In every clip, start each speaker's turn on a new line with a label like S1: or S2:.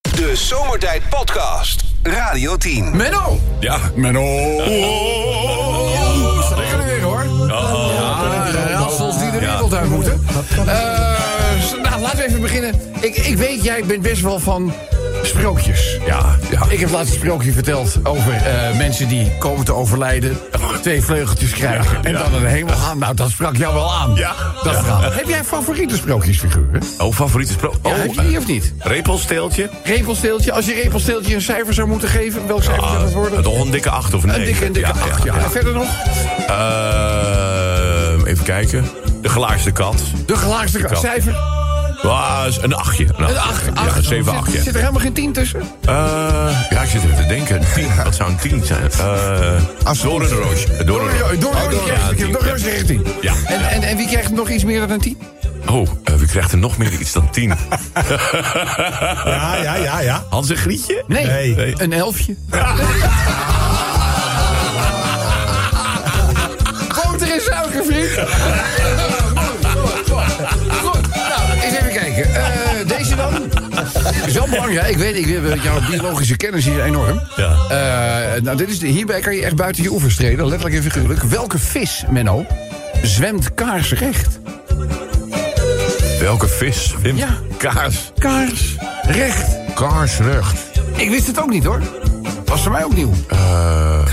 S1: De Zomertijd Podcast. Radio 10.
S2: Menno!
S3: Ja, Menno.
S2: Lekker weer hoor. Ja, Rassels die de wereld uit moeten. Eh, s- nou, laten we even beginnen. Ik, ik weet, jij bent best wel van sprookjes.
S3: Ja, ja.
S2: Ik heb laatst een sprookje verteld over eh, mensen die komen te overlijden. Twee vleugeltjes krijgen en
S3: ja.
S2: dan naar de hemel gaan. Nou, dat sprak jou wel aan.
S3: Ja.
S2: Dat
S3: Ja.
S2: verhaal. Heb jij favoriete sprookjesfiguren?
S3: Oh, favoriete sprookje.
S2: Ja,
S3: oh,
S2: heb je die of niet?
S3: Repelsteeltje.
S2: Repelsteeltje. Als je repelsteeltje een cijfer zou moeten geven, welk cijfer zou dat worden?
S3: Toch een dikke 8 of 9.
S2: Een dikke, een dikke acht, ja. En verder nog?
S3: Eh, even kijken. De gelaarsde kat.
S2: De gelaagste
S3: Kat.
S2: cijfer.
S3: Ah, is een achtje.
S2: Een acht, acht.
S3: Ja, een 7,
S2: Zit-
S3: 8.
S2: Zit er helemaal geen tien tussen?
S3: Eh, ja, ik zit even te denken. Een tien. Wat zou een 10 zijn? Eh Doornenroosje. Doornenroosje.
S2: Door
S3: Oh, ja, een tien.
S2: Roosje krijgt tien.
S3: Ja.
S2: En, en, en wie krijgt nog iets meer dan een tien?
S3: Oh, eh, wie krijgt er nog meer iets dan 10?
S4: Ja, ja, ja, ja.
S3: Hans en Grietje?
S2: Nee,
S4: Nee.
S2: een elfje. Boter en suiker, vriend. Goed, nou, eens even kijken. Eh, deze dan? Is wel belangrijk. Ik weet, ik, weet, jouw biologische kennis is enorm.
S3: Ja.
S2: Eh, nou, dit is, de- hierbij kan je echt buiten je oevers treden, letterlijk en figuurlijk. Welke vis, Menno, zwemt kaarsrecht?
S3: Welke vis? Wim?
S2: Ja.
S3: Kaars.
S2: Kaarsrecht.
S3: Kaarsrecht.
S2: Ik wist het ook niet, hoor. Was voor mij ook nieuw. Eh,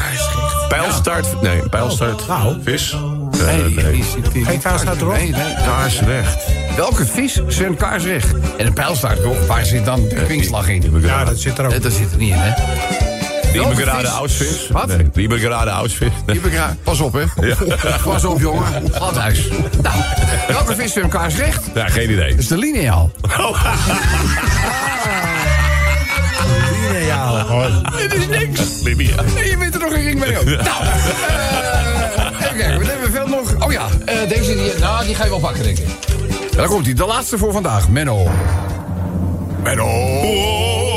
S3: Pijlstart. Nee, pijlstart.
S4: nou.
S3: Vis.
S2: Oh, Nee,
S3: Eh,
S2: die
S3: nee.
S2: is- die- die-
S4: Geen kaarsstaart erop?
S2: Nee, nee.
S3: Kaarsrecht.
S2: Welke vis zwemt kaarsrecht? En een pijlstaart, toch? Waar zit dan de kwinkslag in?
S4: Ja, dat zit er ook.
S2: Eh, Dat zit er niet in, hè? Welke
S3: Liebergerade
S2: vis-
S3: Ausvis.
S2: Wat?
S3: Nee, Liebergerade Ausvis. Nee.
S2: Liebergra- Pas op, hè? Pas op, jongen. Gladhuis. Nou, welke vis zwemt kaarsrecht?
S3: Ja, nou, geen idee.
S2: Dat is de lineaal. Ah.
S4: Ja,
S2: Dit is niks.
S3: Libia.
S2: En je bent er nog een ring mee ook. Nou, eh, even kijken, wat hebben we veel nog? Oh ja, eh, deze die, nou, die ga je wel pakken, denk ik. Ja, daar komt hij. De laatste voor vandaag. Menno.
S3: Menno.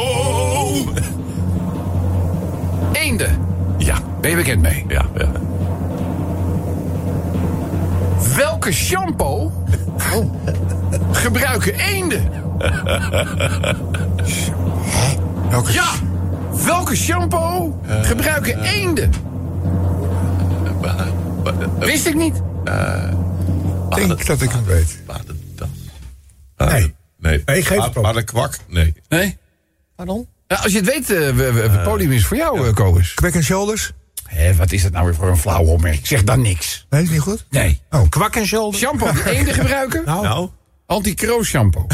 S2: Eenden.
S3: Ja,
S2: Ben je bekend mee?
S3: ja, ja.
S2: Welke shampoo gebruiken eenden?
S4: Welke-
S2: Ja! Welke shampoo gebruiken eenden? Wist ik niet.
S4: ik denk dat ik het weet.
S3: Paardentas.
S4: Nee.
S3: Ah, Nee.
S4: Nee, geef het op.
S3: Maar de kwak? Nee.
S2: Nee?
S4: Pardon?
S2: Nou, als je het weet, eh, we- we- het podium is voor jou, eh, Kobus.
S4: Quick and Shoulders?
S2: Hé, wat is dat nou weer voor een flauwe opmerking? Zeg dan niks.
S4: Nee, is niet goed?
S2: Nee.
S4: Oh, Kwak en Shoulders?
S2: Shampoo die eenden gebruiken?
S3: Nou?
S2: Anti-kroo shampoo.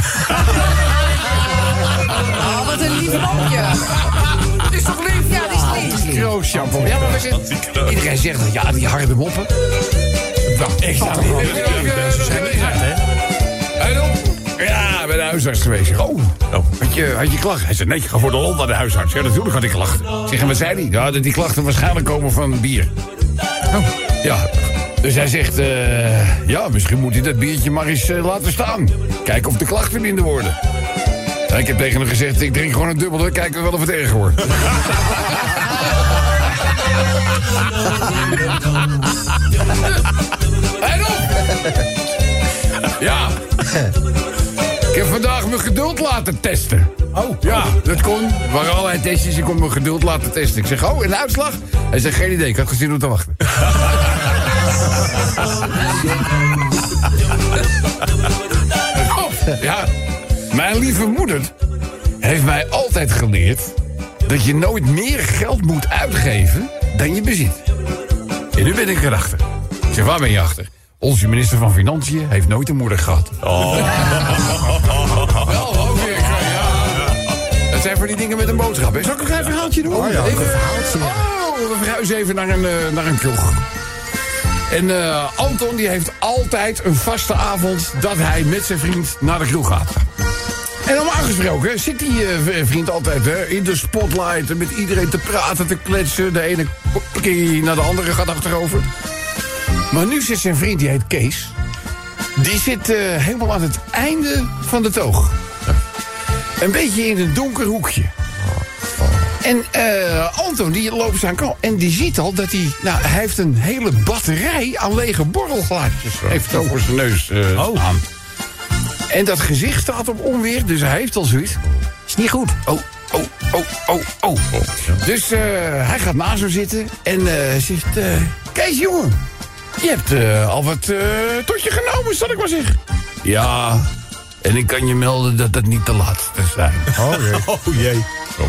S5: Oh, wat een lief lampje.
S2: Dat is toch lief?
S5: Ja, dat is lief.
S2: Anti-kroo shampoo. Ja, maar we zeggen...
S3: Anti-kroo.
S2: Iedereen zegt dat, ja, die harde moppen. Nou, echt. nou, ik- ik- ik- Hij dan? Ja, bij de huisarts geweest. Oh, had je, had je klachten? Hij zei, nee, ik ga voor de lol naar de huisarts. Ja, natuurlijk had ik klachten. Ik Zeg, en wat zei hij? Ja, dat die klachten waarschijnlijk komen van bier. Oh. Ja. Dus hij zegt, eh, ja, misschien moet hij dat biertje maar eens eh, laten staan. Kijken of de klachten minder worden. Ja, ik heb tegen hem gezegd, ik drink gewoon een dubbel, dan kijken we wel of het erger wordt. Hij dan? Ja. Ik heb vandaag mijn geduld laten testen. Oh. Ja, dat kon. Er waren allerlei testjes. Ik kon mijn geduld laten testen. Ik zeg, oh, en de uitslag? Hij zegt, geen idee. Ik had gezien om te wachten. Oh, ja. Mijn lieve moeder heeft mij altijd geleerd... dat je nooit meer geld moet uitgeven dan je bezit. En nu ben ik erachter. Ik zeg, waar ben je achter? Onze minister van Financiën heeft nooit een moeder gehad. Wel, ook weer. ja, ja. Dat zijn voor die dingen met een boodschap. hè. Zal ik nog even een verhaaltje doen?
S4: Oh, ja,
S2: Oh, even,
S4: een verhaaltje.
S2: Oh, we verhuizen even naar een, eh, naar een kroeg. En eh, Anton die heeft altijd een vaste avond dat hij met zijn vriend naar de kroeg gaat. En normaal gesproken zit die eh, vriend altijd hè, in de spotlight... met iedereen te praten, te kletsen. De ene kopje naar de andere gaat achterover. Maar nu zit zijn vriend, die heet Kees... Die zit eh, helemaal aan het einde van de toog. Een beetje in een donker hoekje. En eh, Anton die loopt zijn kant en die ziet al dat hij... Nou, hij heeft een hele batterij aan lege borrelglaasjes. Heeft over zijn neus eh staan. En dat gezicht staat op onweer, dus hij heeft al zoiets. Is niet goed. Oh, oh, oh, oh, oh. Dus eh, hij gaat naast hem zitten en eh, zegt... eh Kees, jongen, je hebt eh, al wat eh, tot je genomen, zal ik maar zeggen. Ja, en ik kan je melden dat het niet de laatste zijn.
S6: Oh jee.
S3: Oh jee.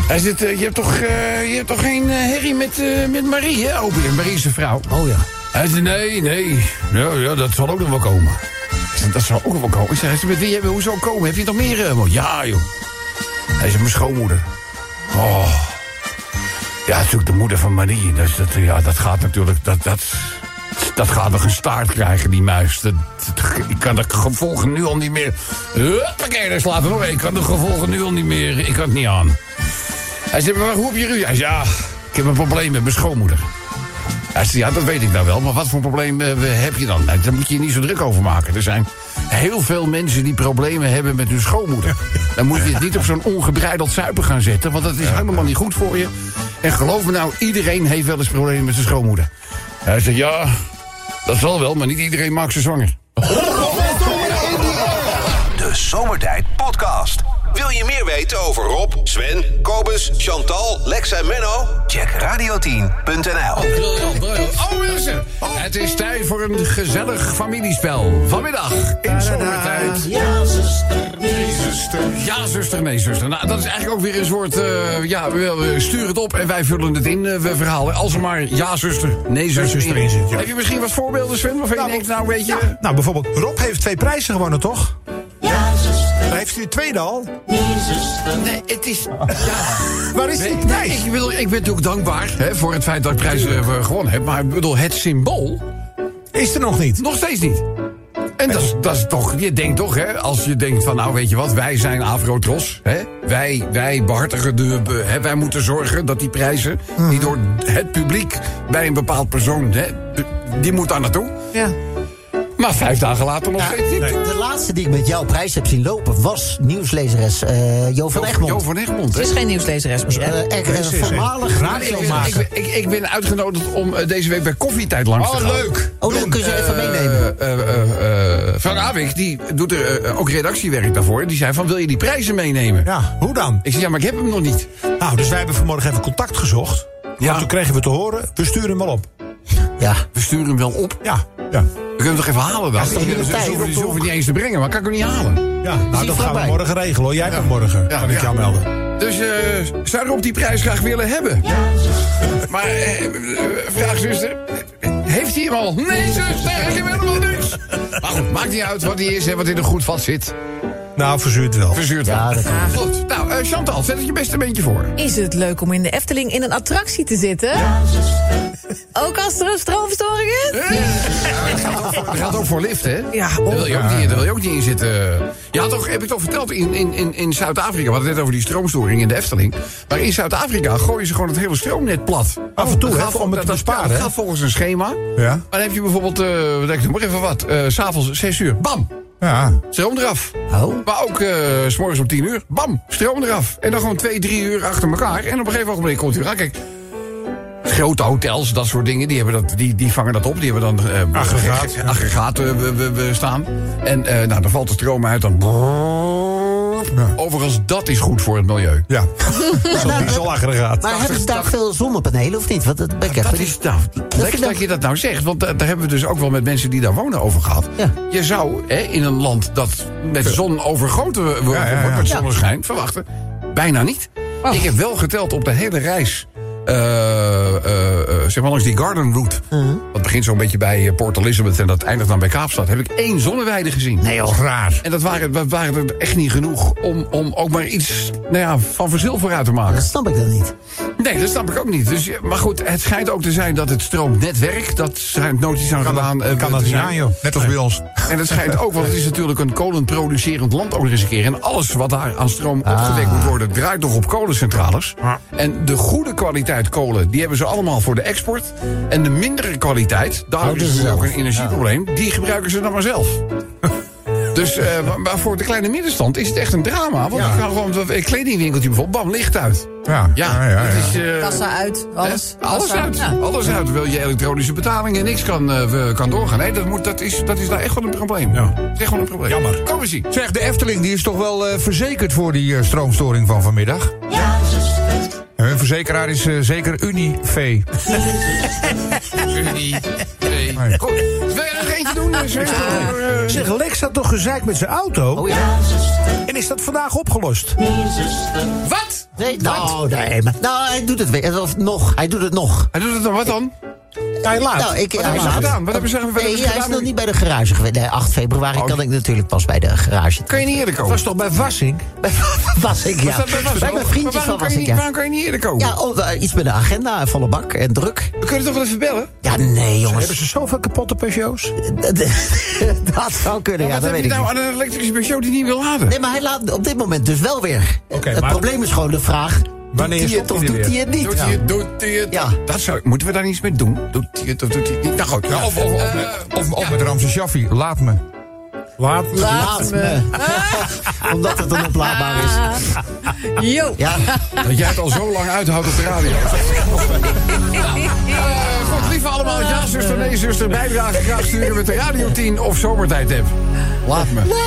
S2: Hij zegt, eh, je, hebt toch, eh, je hebt toch geen eh, herrie met, eh, met Marie, hè? Open, Marie is zijn vrouw.
S4: Oh ja.
S2: Hij zei, nee, nee. Ja, ja, dat zal ook nog wel komen. Ik zei, dat zal ook nog wel komen. Ik zei, met wie hebben, hoezo komen? Heb je nog meer? eh, man? ja, joh. Hij zei, mijn schoonmoeder. Oh. Ja, het is ook de moeder van Marie. Dus dat, ja, dat gaat natuurlijk... Dat, dat, dat gaat nog een staart krijgen, die muis. Dat, dat- ik kan de gevolgen nu al niet meer... Huppakee, daar slaat hem op. Ik kan de gevolgen nu al niet meer... Ik kan het niet aan. Hij zei, maar hoe heb je ruzie? Hij zei, ja, ik heb een probleem met mijn schoonmoeder. Hij zei, ja, dat weet ik nou wel, maar wat voor probleem eh, heb je dan? Nou, daar moet je je niet zo druk over maken. Er zijn heel veel mensen die problemen hebben met hun schoonmoeder. Dan moet je het niet op zo'n ongebreideld zuipen gaan zetten, want dat is helemaal niet goed voor je. En geloof me nou, iedereen heeft wel eens problemen met zijn schoonmoeder. Hij zegt, ja, dat zal wel, maar niet iedereen maakt ze zwanger.
S1: De Zomertijd Podcast. Wil je meer weten over Rob, Sven, Kobus, Chantal, Lex en Menno? Check radio10.nl.
S2: Oh, hier is ze. Het is tijd voor een gezellig familiespel. Vanmiddag in zomertijd.
S7: Ja, zuster, nee, zuster.
S2: Ja, zuster, nee, zuster. Nou, dat is eigenlijk ook weer een soort. eh, ja, we, we sturen het op en wij vullen het in. eh, we verhalen. Als er maar ja, zuster, nee, zuster,
S6: zuster
S2: in
S6: in zit, ja.
S2: Heb je misschien wat voorbeelden, Sven? Waarvan je denkt, nou, weet je.
S6: Ja, nou, bijvoorbeeld, Rob heeft twee prijzen gewonnen, toch?
S7: Ja, zuster,
S6: Hij heeft u de tweede al.
S7: nee, zuster.
S2: Nee, het is.
S6: Waar is die?
S2: Nee, ik, bedoel, ik ben natuurlijk dankbaar hè, voor het feit dat ik prijzen eh, gewonnen heb. Maar ik bedoel, het symbool
S6: Is er nog niet.
S2: nog steeds niet. En dat is, dat is toch, je denkt toch, hè, als je denkt van, nou weet je wat, wij zijn Afrotros. Hè? Wij, wij behartigen de, be- hè, wij moeten zorgen dat die prijzen, die door het publiek bij een bepaald persoon, hè, die moet daar naartoe.
S4: Ja.
S2: Maar vijf dagen later nog steeds niet. Jo-
S8: De laatste die ik met jouw prijs heb zien lopen was nieuwslezeres eh Jo van Egmond.
S2: Jo van Egmond. hè.
S5: Het is geen nieuwslezeres meer.
S8: Eh,
S5: hè?
S8: eh, eh, voormalig
S2: Ik,
S8: radiomaker.
S2: ben- ik, ben- ik, ik ben uitgenodigd om eh, deze week bij koffietijd langs te gaan.
S8: Oh, dan kun je ze even meenemen.
S2: Eh, eh, eh, Frank Awik, die doet er eh, ook redactiewerk daarvoor. Die zei van, wil je die prijzen meenemen?
S6: Ja, hoe dan?
S2: Ik zei, ja, maar ik heb hem nog niet.
S6: Nou, dus wij hebben vanmorgen even contact gezocht.
S2: Ja.
S6: Ja. Toen kregen we te horen, we sturen hem wel op.
S8: Ja.
S2: We sturen hem wel op.
S6: Ja, ja.
S2: We kunnen hem toch even halen dan?
S8: toch niet de
S2: Ze-
S8: tijd?
S2: Ze hoeven- ze hoeven het niet eens te brengen, maar kan ik hem niet halen.
S6: ja. Nou, dat gaan we
S8: vlakbij?
S6: morgen regelen hoor. Jij bent morgen, kan ik
S2: ja.
S6: jou melden.
S2: Dus eh zou Rob die prijs graag willen hebben? Maar eh, eh, vraag zuster, heeft hij hem al? Nee zuster, ik heb helemaal niks. Maar goed, maakt niet uit wat hij is en wat in een goed vat zit.
S6: Nou, verzuurd wel.
S2: Verzuurd
S8: Ja,
S2: wel.
S8: dat kan.
S2: Goed, nou eh, Chantal, zet het je beste beentje voor.
S5: Is het leuk om in de Efteling in een attractie te zitten? Ook als er een stroomstoring is?
S2: Dat geldt ook voor lift, hè?
S5: Ja,
S2: daar, wil je ook niet, daar wil je ook niet in zitten. Ja, toch, heb ik toch verteld, in, in, in, in Zuid-Afrika... we hadden het net over die stroomstoring in de Efteling... maar in Zuid-Afrika gooien ze gewoon het hele stroomnet plat.
S6: Af en toe,
S2: Dat
S6: hè,
S2: gaat
S6: om het te
S2: dat-
S6: besparen,
S2: Dat
S6: hè?
S2: gaat volgens een schema.
S6: Ja.
S2: Maar dan heb je bijvoorbeeld, eh, wat denk ik, nog maar even wat... eh, s S'avonds 6 uur, bam,
S6: Ja.
S2: stroom eraf.
S8: Oh.
S2: Maar ook eh, s s'morgens om 10 uur, bam, stroom eraf. En dan gewoon twee, drie uur achter elkaar. En op een gegeven moment komt hij eraan. Kijk, grote hotels, dat soort dingen, die, hebben dat, die, die vangen dat op. Die hebben dan eh
S6: Aggregaat.
S2: ge- ge- aggregaten eh, we, we, we staan. En eh, nou, dan valt de stroom uit. Dan... Overigens, dat is goed voor het milieu.
S6: Ja. Zo'n dieselaggregaat.
S8: Maar hebben ze daar veel zonnepanelen of niet? Want dat ben ik even
S2: Dat is nou, lekker dat je dat nou zegt. Want da- daar hebben we dus ook wel met mensen die daar wonen over gehad.
S8: Ja.
S2: Je zou hè, in een land dat met zon overgoten wo- wordt,
S6: ja, ja.
S2: met zonneschijn, verwachten. Bijna niet. Ik heb wel geteld op de hele reis. eh, eh, eh, zeg maar langs die Garden Route. Dat begint zo'n beetje bij eh, Port Elizabeth en dat eindigt dan bij Kaapstad. Heb ik één zonneweide gezien. Nee,
S6: Raar.
S2: En dat waren, dat waren er echt niet genoeg om, om ook maar iets nou ja, van verschil voor uit te maken.
S8: Dat snap ik dan niet.
S2: Nee, dat snap ik ook niet. Dus, ja, maar goed, het schijnt ook te zijn dat het stroomnetwerk... dat schijnt nooit iets aan gedaan eh,
S6: kan
S2: te
S6: dat niet
S2: zijn.
S6: aan, joh. Net als bij ons.
S2: En dat schijnt ook, want het is natuurlijk een kolenproducerend land ook nog eens een keer. En alles wat daar aan stroom opgewekt moet worden... draait nog op kolencentrales. En de goede kwaliteit kolen, die hebben ze allemaal voor de export. En de mindere kwaliteit, daar
S8: Houden
S2: is
S8: ze
S2: dus ook
S8: zelf.
S2: een energieprobleem... die gebruiken ze dan maar zelf. Dus, eh, maar- maar voor de kleine middenstand is het echt een drama. Want ik kan gewoon een kledingwinkeltje bijvoorbeeld, bam, licht uit.
S6: Ja.
S2: Ja,
S6: ja,
S2: dat is... eh,
S5: Kassa uit, alles.
S2: Hè? Eh, Alles
S5: Kassa-
S2: uit.
S5: Ja.
S2: Alles uit. Wil je elektronische betalingen en niks kan, eh, we- kan doorgaan. Nee, dat, moet, dat, is, dat is daar echt wel een probleem.
S6: Ja.
S2: Dat is echt wel een probleem.
S6: Jammer.
S2: Kom eens zien.
S9: Zeg, de Efteling die is toch wel eh, verzekerd voor die eh, stroomstoring van vanmiddag?
S7: Ja, zuster,
S9: verzekeraar is eh, zeker Unive.
S2: Unie, twee. Kom, wil je er nog eentje doen? eh, Sven? Voor, eh,
S6: Zeg, Lex had toch gezeik met zijn auto?
S8: Oh ja.
S6: En is dat vandaag opgelost?
S2: Wat?
S8: Nee, nou, nee, maar, nou, hij doet het weer. Of nog, hij doet het nog.
S2: Hij doet het dan, wat dan?
S6: Hij laat.
S8: Nou, ik,
S2: hebben ze
S8: laat het.
S2: gedaan? Wat hebben ze- wat
S8: nee,
S2: hebben ze
S8: hij is
S2: gedaan
S8: nog
S2: nu?
S8: niet bij de garage geweest. Nee, 8 februari kan ik natuurlijk pas bij de garage.
S2: Kan je niet eerder
S6: Dat
S2: komen?
S6: was toch bij Vassing?
S8: was ik, ja.
S2: Dat was- was-
S8: Bij mijn vriendjes van
S2: maar waarom kan
S8: was
S2: je
S8: ik,
S2: niet-
S8: ja.
S2: Waarom kan je niet eerder komen?
S8: Ja, oh, eh, iets met de agenda, volle bak en druk.
S2: We kunnen toch wel even bellen?
S8: Ja, nee, jongens.
S6: Hebben ze zoveel kapotte Peugeots?
S8: dat zou kunnen, ja,
S2: Wat
S8: dat
S2: heb
S8: weet
S2: je
S8: ik
S2: nou
S8: niet.
S2: aan een elektrische Peugeot die niet wil laden?
S8: Nee, maar hij laat op dit moment dus wel weer.
S6: Oké,
S8: het
S6: maar-
S8: probleem is gewoon de vraag...
S6: Wanneer
S8: doet hij
S6: stopt
S8: het of
S6: hij er
S8: doet hij het niet?
S2: Doet hij het, doet hij het?
S8: Ja.
S2: Dat zou, moeten we daar iets mee doen? Doet hij het of doet hij het niet? Nou goed.
S9: Ja, of, of, of, met- of, of met Ramse Shaffi, laat me.
S6: Laat.
S8: Laat me. Omdat het een oplaadbaar is.
S5: Jo.
S8: Ja,
S2: Dat jij het al zo lang uithoudt op de radio. Eh, goed, lieve allemaal. Ja, zuster, nee, zuster. Bijdrage graag sturen met de Radio 10 of Zomertijd app.
S8: laat me.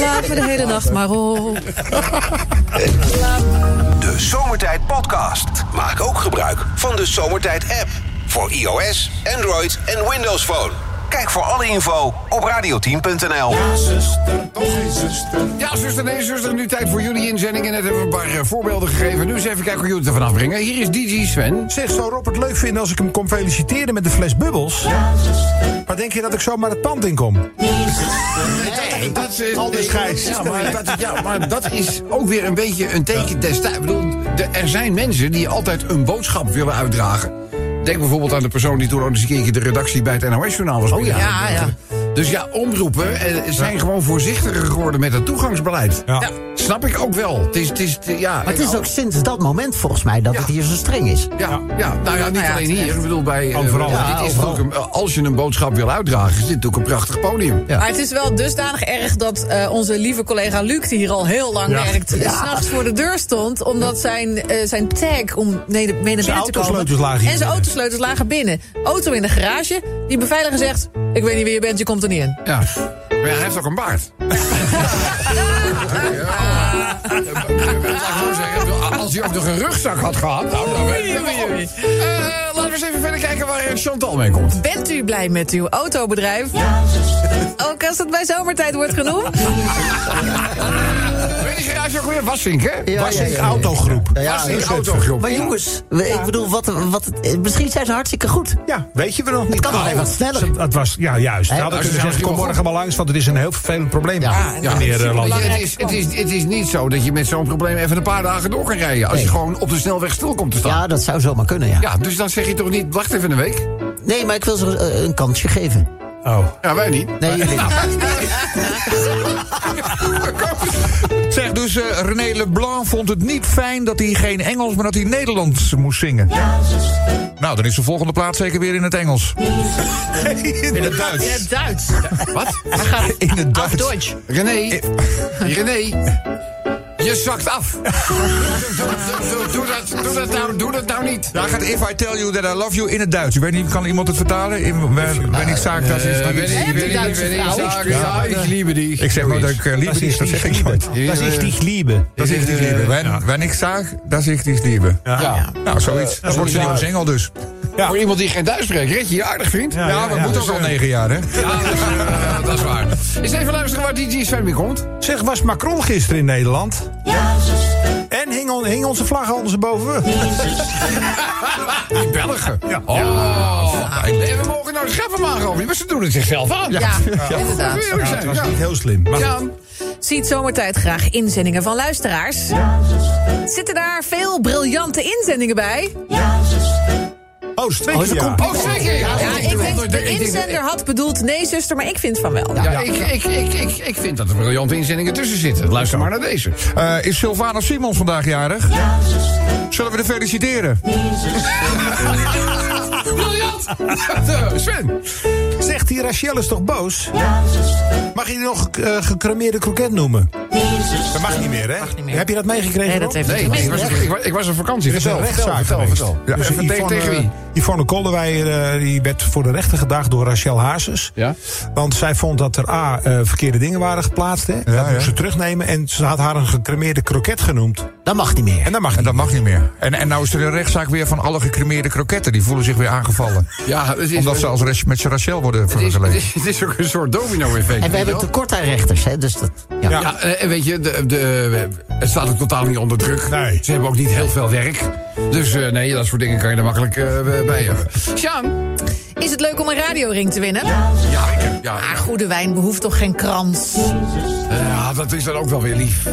S5: Laat me de hele nacht maar op.
S1: De Zomertijd Podcast. Maak ook gebruik van de Zomertijd app. Voor iOS, Android en Windows Phone. Kijk voor alle info op radioteam.nl.
S2: Ja, zuster, nee, zuster. Nu tijd voor jullie inzending. En net hebben we een paar eh, voorbeelden gegeven. Nu eens even kijken hoe jullie het ervan afbrengen. Hier is DJ Sven.
S6: Zeg, zou Rob het leuk vinden als ik hem kom feliciteren met een fles bubbels? Maar denk je dat ik zomaar het pand in kom?
S2: Nee, dat is...
S6: Anders Gijs.
S2: Ja maar, dat, ja, maar dat is ook weer een beetje een teken destijds. Ik bedoel, de- er zijn mensen die altijd een boodschap willen uitdragen. Denk bijvoorbeeld aan de persoon die toen ook eens een keertje de redactie bij het NOS-journaal was. Oh
S5: Ja, ja.
S2: Dus ja, omroepen eh, zijn gewoon voorzichtiger geworden met het toegangsbeleid.
S6: Ja.
S2: Snap ik ook wel. Het is, het is, het- ja,
S8: Maar het is ook sinds dat moment volgens mij dat
S2: Ja.
S8: het hier zo streng is.
S2: Ja, ja, nou ja, niet
S5: ja,
S2: alleen
S5: het is
S2: hier. Ik bedoel, bij... eh,
S6: Overal.
S2: ja,
S6: Ja,
S2: dit is natuurlijk een- als je een boodschap wil uitdragen, is dit natuurlijk een prachtig podium.
S5: Maar het is wel dusdanig erg dat eh, onze lieve collega Luc, die hier al heel lang werkt, s'nachts voor de deur stond. Omdat zijn, eh, zijn tag om nee, de- mee naar binnen te
S6: autosleutels
S5: komen.
S6: lagen hier
S5: en zijn
S6: binnen.
S5: autosleutels lagen binnen. Auto in de garage. Die beveiliger zegt: Ik weet niet wie je bent, je komt er niet in.
S2: Ja. Maar ja, hij heeft ook een baard. Ja. Laat ik zo zeggen, Als hij ook nog een rugzak had gehad. Nou, dan weet ik het wel. Eh, Laten we eens even verder kijken waar eh, Chantal mee komt.
S5: Bent u blij met uw autobedrijf? Ook als het bij zomertijd wordt genoemd.
S2: Weet je garage ook weer? Wassink, hè?
S8: Ja,
S6: Was
S8: ja,
S6: ik
S8: ja, ja.
S6: autogroep?
S8: Ja, ja,
S2: Wassink
S8: ja.
S2: Autogroep.
S8: Maar jongens, we- ik bedoel, wat, wat, eh, misschien zijn ze hartstikke goed.
S6: Ja, weet je wel nog niet.
S8: kan alleen
S6: Nou,
S8: wat sneller.
S6: ze- Het was, ja, juist. Ze
S8: Hè?
S6: hadden
S2: Als je
S6: kunnen zeggen,
S2: zegt,
S6: kom
S2: joh,
S6: morgen maar langs, want het is een heel vervelend probleem.
S8: Ja.
S2: Ja,
S6: meneer eh,
S2: maar
S6: Landers.
S2: het, is, het, is, het is niet zo dat je met zo'n probleem even een paar dagen door kan rijden. Als je
S8: Nee.
S2: gewoon op de snelweg stil komt te staan.
S8: Ja, dat zou zomaar kunnen, ja.
S2: Ja, dus dan zeg je toch niet, wacht even een week?
S8: Nee, maar ik wil ze eh, een kansje geven.
S6: Oh.
S2: Ja, wij niet.
S8: Nee, jullie niet.
S9: Zeg, dus eh, René Leblanc vond het niet fijn dat hij geen Engels, maar dat hij Nederlands moest zingen. Nou, dan is de volgende plaat zeker weer in het Engels. In het Duits.
S5: Het Duits.
S2: Wat?
S9: In het Duits.
S5: Deutsch.
S2: René, René, je zakt af. doe, doe- doe dat, doe, dat nou, doe dat nou niet.
S9: Daar gaat If I Tell You That I Love You in het Duits. Ik weet niet, kan iemand het vertalen? In, ben, ben ik zaak dat is?
S2: Eh, weet ik, weet ik,
S5: Duitse
S2: weet ik,
S5: vrouw.
S2: zaak- ja, ik liebe die.
S9: Ik zeg maar dat ik eh,
S6: Dat
S9: liever
S6: is
S9: is, dat zeg ik nooit.
S6: Dat is die liebe.
S9: Dat is die liebe. Wenn, wenn ik zaag, dat is die liebe.
S2: Ja.
S9: Nou, zoiets. Dat wordt een nieuwe single dus.
S2: Voor iemand die geen Duits spreekt, red je je aardig, vriend. Nou,
S9: Ja, Dus, eh, maar moet ook al negen jaar, hè?
S2: dat is waar. Eens even luisteren waar DJ Sven weer komt.
S6: Zeg, was Macron gisteren in Nederland? En hing, on- hing onze vlag ondersteboven?
S2: Die Belgen. Ja. Oh. En we mogen nou de grappen maken over die, maar ze doen het zichzelf aan.
S5: Ja,
S2: Laten
S5: inderdaad.
S2: we eerlijk
S6: Het
S2: zijn.
S6: was
S2: Ja.
S6: niet heel slim. Maar
S2: Jan,
S5: Ziet zomertijd graag inzendingen van luisteraars? Zitten daar veel briljante inzendingen bij?
S6: Oh, is twee keer ja.
S2: oh zeker. Ja,
S5: Ja, ik denk, de
S2: ik denk-
S5: inzender had bedoeld nee, zuster, maar ik vind van wel.
S2: Ja, Ik, ik, ik, ik, ik vind dat er briljante inzendingen tussen zitten. Luister maar naar deze.
S9: Eh, is Sylvana Simons vandaag jarig? Zullen we de feliciteren?
S2: Briljant! eh, Sven!
S6: Zegt die Rachel is toch boos? Mag je die nog eh gecremeerde kroket noemen? Dat mag niet meer, hè? Heb je dat meegekregen?
S4: Nee, dat
S6: Rob?
S4: heeft
S2: Nee, ik was, ik, was, ik was op vakantie.
S6: Er is een
S2: Vertel, vertel,
S6: rechtszaak
S2: vertel.
S6: geweest.
S2: vertel.
S6: Ja,
S2: Dus
S6: en
S2: Yvonne, tegen wie?
S6: eh, Yvonne Kolderweijer eh, die werd voor de rechter gedaagd door Rachel Hazes.
S2: Ja.
S6: Want zij vond dat er A, eh, verkeerde dingen waren geplaatst. Hè. dat moest ze terugnemen. En ze had haar een gecremeerde kroket genoemd.
S8: Dat mag niet meer.
S6: En dat mag
S9: En
S6: niet.
S9: dat mag niet meer. En, en nou is er een rechtszaak weer van alle gecremeerde kroketten. Die voelen zich weer aangevallen.
S2: Ja, het is,
S9: Omdat ze als Rach- met z'n Rachel worden
S2: het is, het
S9: vergeleken.
S2: is, het is ook een soort domino-effect.
S8: En we
S2: weet je
S8: hebben
S2: wel?
S8: tekort aan rechters, hè? Dus dat, ja.
S6: Ja.
S2: Ja, eh, en weet je, de, de, eh, het staat ook totaal niet onder druk.
S6: Nee.
S2: Ze hebben ook niet heel veel werk. Dus eh, nee, dat soort dingen kan je er makkelijk eh, bij hebben.
S5: Sjaan, is het leuk om een radioring te winnen?
S2: Ja, ik heb- ja,
S5: Ah, goede wijn behoeft toch geen krans?
S2: ja, dat is dan ook wel weer lief.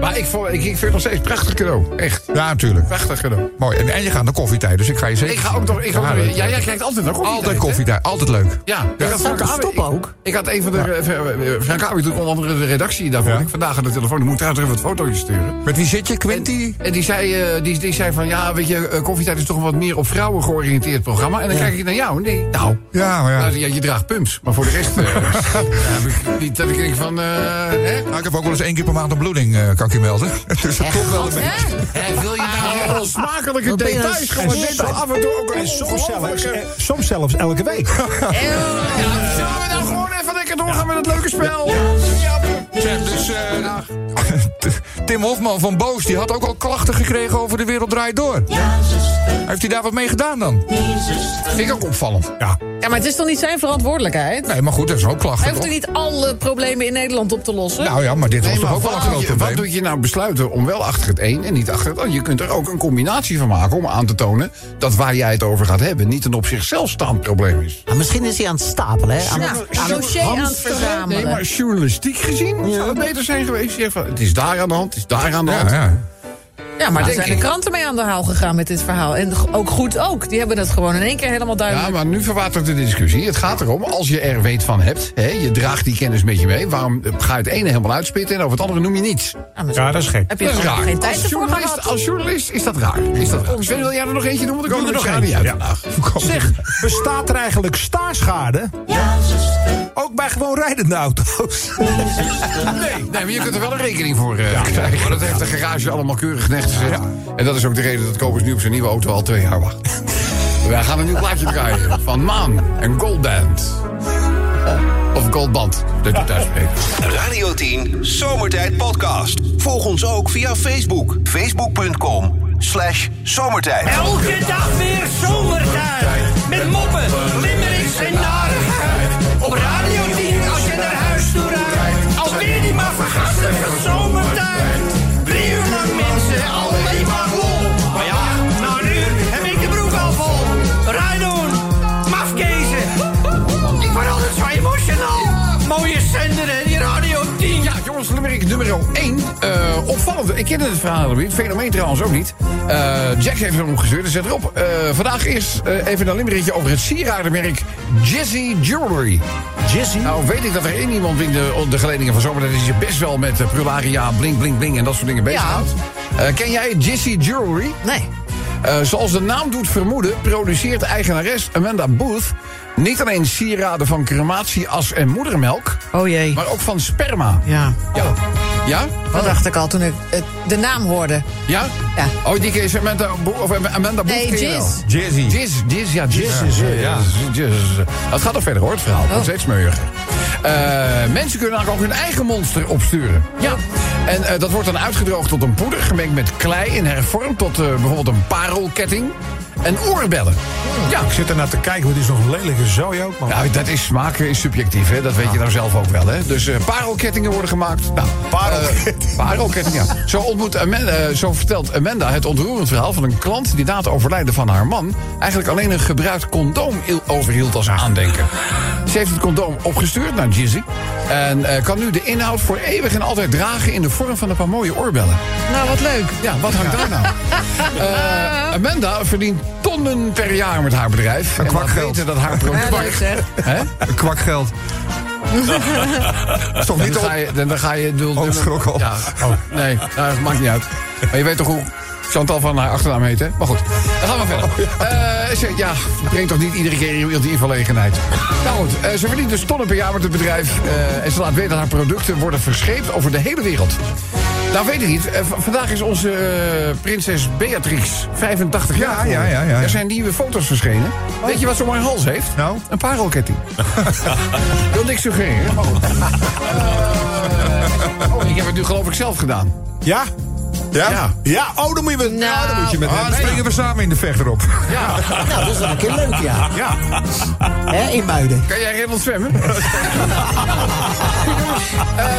S2: Maar ik, vond, ik, ik vind het nog steeds een prachtig cadeau. Echt,
S9: Ja, natuurlijk.
S2: prachtig cadeau.
S9: Mooi. En, en je gaat naar koffietijd, dus ik ga je zeker.
S2: Ik ga ook nog... Ik ga ook
S9: Ja,
S2: nog-
S9: dat-
S2: ja, jij kijkt altijd nog koffie.
S9: Altijd koffietijd, altijd leuk.
S2: Ja, ik had
S8: zou
S2: Frank
S8: toch
S2: Abbe-
S8: stoppen
S2: ik-
S8: ook?
S2: Ik had een van de. eh, eh, eh, Frank Abbe doet onder andere de redactie daarvoor.
S9: Ja.
S2: Ik vandaag aan de telefoon. Dan moet ik trouwens even wat fotootjes sturen.
S9: Met wie zit je, Quinty?
S2: En die zei, eh, die, die zei van ja, weet je, eh, koffietijd is toch een wat meer op vrouwen georiënteerd programma. En dan kijk ik naar jou. Nee, nou.
S9: Ja, maar ja.
S2: nou, je draagt pumps. Maar voor de rest. eh, heb ik niet dat ik denk van. eh, hè?
S9: Nou, ik heb ook wel eens één keer per maand een bloeding, eh, kan ik je melden. Dus dat komt wel een beetje.
S5: Hè?
S2: Hè, wil je nou onsmakelijke
S8: Wat ben je nou
S2: details? Gewoon
S8: scherp?
S2: dit af en toe ook een
S6: En soms zelfs,
S2: ongelofelijke-
S6: eh, soms zelfs elke week.
S2: Ja, Zullen we nou gewoon even lekker doorgaan met het leuke spel?
S9: Zeg, dus, eh, Tim Hofman van Boos die had ook al klachten gekregen over de wereld draait door. Heeft hij daar wat mee gedaan dan?
S2: Vind ik ook opvallend.
S6: Ja.
S5: Ja, maar het is toch niet zijn verantwoordelijkheid?
S9: Nee, maar goed, dat is ook klachten.
S5: Hij hoeft er
S9: toch?
S5: niet alle problemen in Nederland op te lossen.
S9: Nou ja, maar dit was
S2: Nee,
S9: toch
S2: maar
S9: ook wel een
S2: wat, doe
S9: groot
S2: je, wat
S9: probleem.
S2: doet je nou besluiten om wel achter het een en niet achter het ander? Je kunt er ook een combinatie van maken om aan te tonen dat waar jij het over gaat hebben niet een op zichzelf staand probleem is.
S8: Maar Ah, misschien is hij aan het stapelen, hè? Aan
S5: Ja,
S8: het- aan het-
S5: dossier aan het
S2: Nee,
S5: verzamelen.
S2: maar journalistiek gezien zou het beter zijn geweest. Zeg van, het is daar aan de hand, het is daar aan de hand.
S9: Ja, ja.
S5: Ja, maar daar
S2: denk
S5: zijn de
S2: ik.
S5: kranten mee aan de haal gegaan met dit verhaal. En g- ook goed ook. Die hebben dat gewoon in één keer helemaal
S2: Ja,
S5: duidelijk.
S2: maar nu verwatert de discussie. Het gaat erom, als je er weet van hebt, hè, je draagt die kennis met je mee. Waarom eh, ga je het ene helemaal uitspitten en over het andere noem je niets?
S5: Ja, maar zo-
S6: ja, dat is gek.
S5: Heb je
S2: Dat
S5: er
S2: is
S5: gewoon
S2: raar.
S5: geen tijd
S2: als,
S5: ervoor
S2: journalist,
S5: gehad?
S2: als journalist is dat raar. Is dat raar. Sven, wil jij er nog eentje doen? Want ik
S6: Doe
S2: kom
S6: er
S2: er nog
S6: nog
S2: niet
S6: één.
S2: uit
S6: Ja.
S2: vandaag.
S6: Zeg, bestaat er eigenlijk staarschade? Ook bij gewoon rijdende auto's.
S2: Nee, nee, maar je kunt er wel een rekening voor eh, krijgen. Maar dat heeft de garage allemaal keurig neergezet. En dat is ook de reden dat Kobus nu op zijn nieuwe auto al twee jaar wacht. Wij gaan een nieuw plaatje draaien van Maan en Goldband. Of Goldband, dat je thuis spreekt.
S1: Radio 10 Zomertijd Podcast. Volg ons ook via Facebook. Facebook.com slash zomertijd.
S10: Elke dag weer zomertijd. Met moppen, limmerings en narigheid. Op Radio 10 als je naar huis toe rijdt. Alweer die maar vergastige zomertijd. Drie uur lang mensen, alleen maar vol. Maar ja, na een uur heb ik de broek al vol. Rijdoen, mafkezen. Ik word altijd zo emotional. Mooie zender en die Radio 10.
S2: Ja, jongens, Limerick nummer 1. Eh opvallend, ik kende het verhaal niet. Fenomeen trouwens ook niet. Eh, Jack heeft hem opgestuurd. Dus zet erop. Eh, vandaag eerst eh, even een limerickje over het sieradenmerk Jizzy Jewelry.
S6: Jizzy.
S2: Nou, weet ik dat er één iemand in de, de geledingen van zomer... dat is je best wel met eh, prularia, blink, blink, blink en dat soort dingen bezighoudt. Eh, ken jij Jizzy Jewelry?
S5: Nee.
S2: Eh, zoals de naam doet vermoeden, produceert eigenares Amanda Booth... niet alleen sieraden van crematie, as en moedermelk...
S5: Oh jee.
S2: maar ook van sperma.
S5: Ja.
S2: Ja? Ja?
S5: Dat dacht ik al toen ik eh, de naam hoorde.
S2: Ja?
S5: Ja.
S2: Oh, die keer is Amanda, Bo of Amanda Booth
S5: Nee,
S2: ken je wel.
S5: Jizz.
S9: Jizzy.
S2: Jizz, jizz, ja, jizz. Ja, ja. Jizz. Het gaat nog verder hoor, het verhaal. Dat is
S5: Oh.
S2: steeds smeuiger. Eh, mensen kunnen eigenlijk ook hun eigen monster opsturen. Ja. En eh, dat wordt dan uitgedroogd tot een poeder, gemengd met klei en hervormd tot eh, bijvoorbeeld een parelketting en oorbellen.
S5: Hmm.
S2: Ja.
S6: Ik zit ernaar te kijken, want dit is nog een lelijke zooi ook, man.
S2: Nou, dat is smaak is subjectief, hè? dat weet je nou zelf ook wel. Hè? Dus eh, parelkettingen worden gemaakt. Nou,
S6: Parelkettingen.
S2: eh, parelkettingen, ja. Zo, ontmoet Amanda, eh, zo vertelt Amanda het ontroerend verhaal van een klant... die na het overlijden van haar man... eigenlijk alleen een gebruikt condoom il- overhield als aandenken. Ze heeft het condoom opgestuurd naar Jizzy... en eh, kan nu de inhoud voor eeuwig en altijd dragen... in de vorm van een paar mooie oorbellen.
S5: Nou, wat leuk.
S2: Ja, wat hangt daar nou? Eh, Amanda verdient tonnen per jaar met haar bedrijf. Een
S9: kwak geld.
S2: weten dat haar product...
S5: Ja, leuk zeg.
S2: Hè?
S9: Kwakgeld. is toch niet
S2: Dan
S9: op.
S2: ga je... Dan, dan ga je
S9: Oh, ik schrok al.
S2: Ja. Nee, nou, dat maakt niet uit. Maar je weet toch hoe Chantal van haar achternaam heet, hè? Maar goed, dan gaan we verder.
S9: Oh,
S2: Eh, ze, ja, breng toch niet iedere keer iemand in verlegenheid. Nou goed, eh, ze verdient dus tonnen per jaar met het bedrijf. eh, en ze laat weten dat haar producten worden verscheept over de hele wereld. Nou, weet ik niet. Eh, v- vandaag is onze eh, prinses Beatrix 85 jaar.
S9: ja,
S2: geworden.
S9: ja, ja, ja.
S2: Er zijn nieuwe foto's verschenen. Weet je wat ze om haar hals heeft? Nou? Een parelketting. Wil niks suggereren. maar goed. Eh, oh, ik heb het nu geloof ik zelf gedaan.
S6: Ja? Ja? Ja, oh, dan moet je met, ja,
S5: Nou.
S6: dan moet je met
S9: Ah, dan springen we samen in de vechter op.
S2: Ja.
S8: Nou, dat is wel een keer leuk, ja.
S9: Ja.
S8: Hè, in Muiden.
S2: Kan jij redelijk zwemmen? Eh,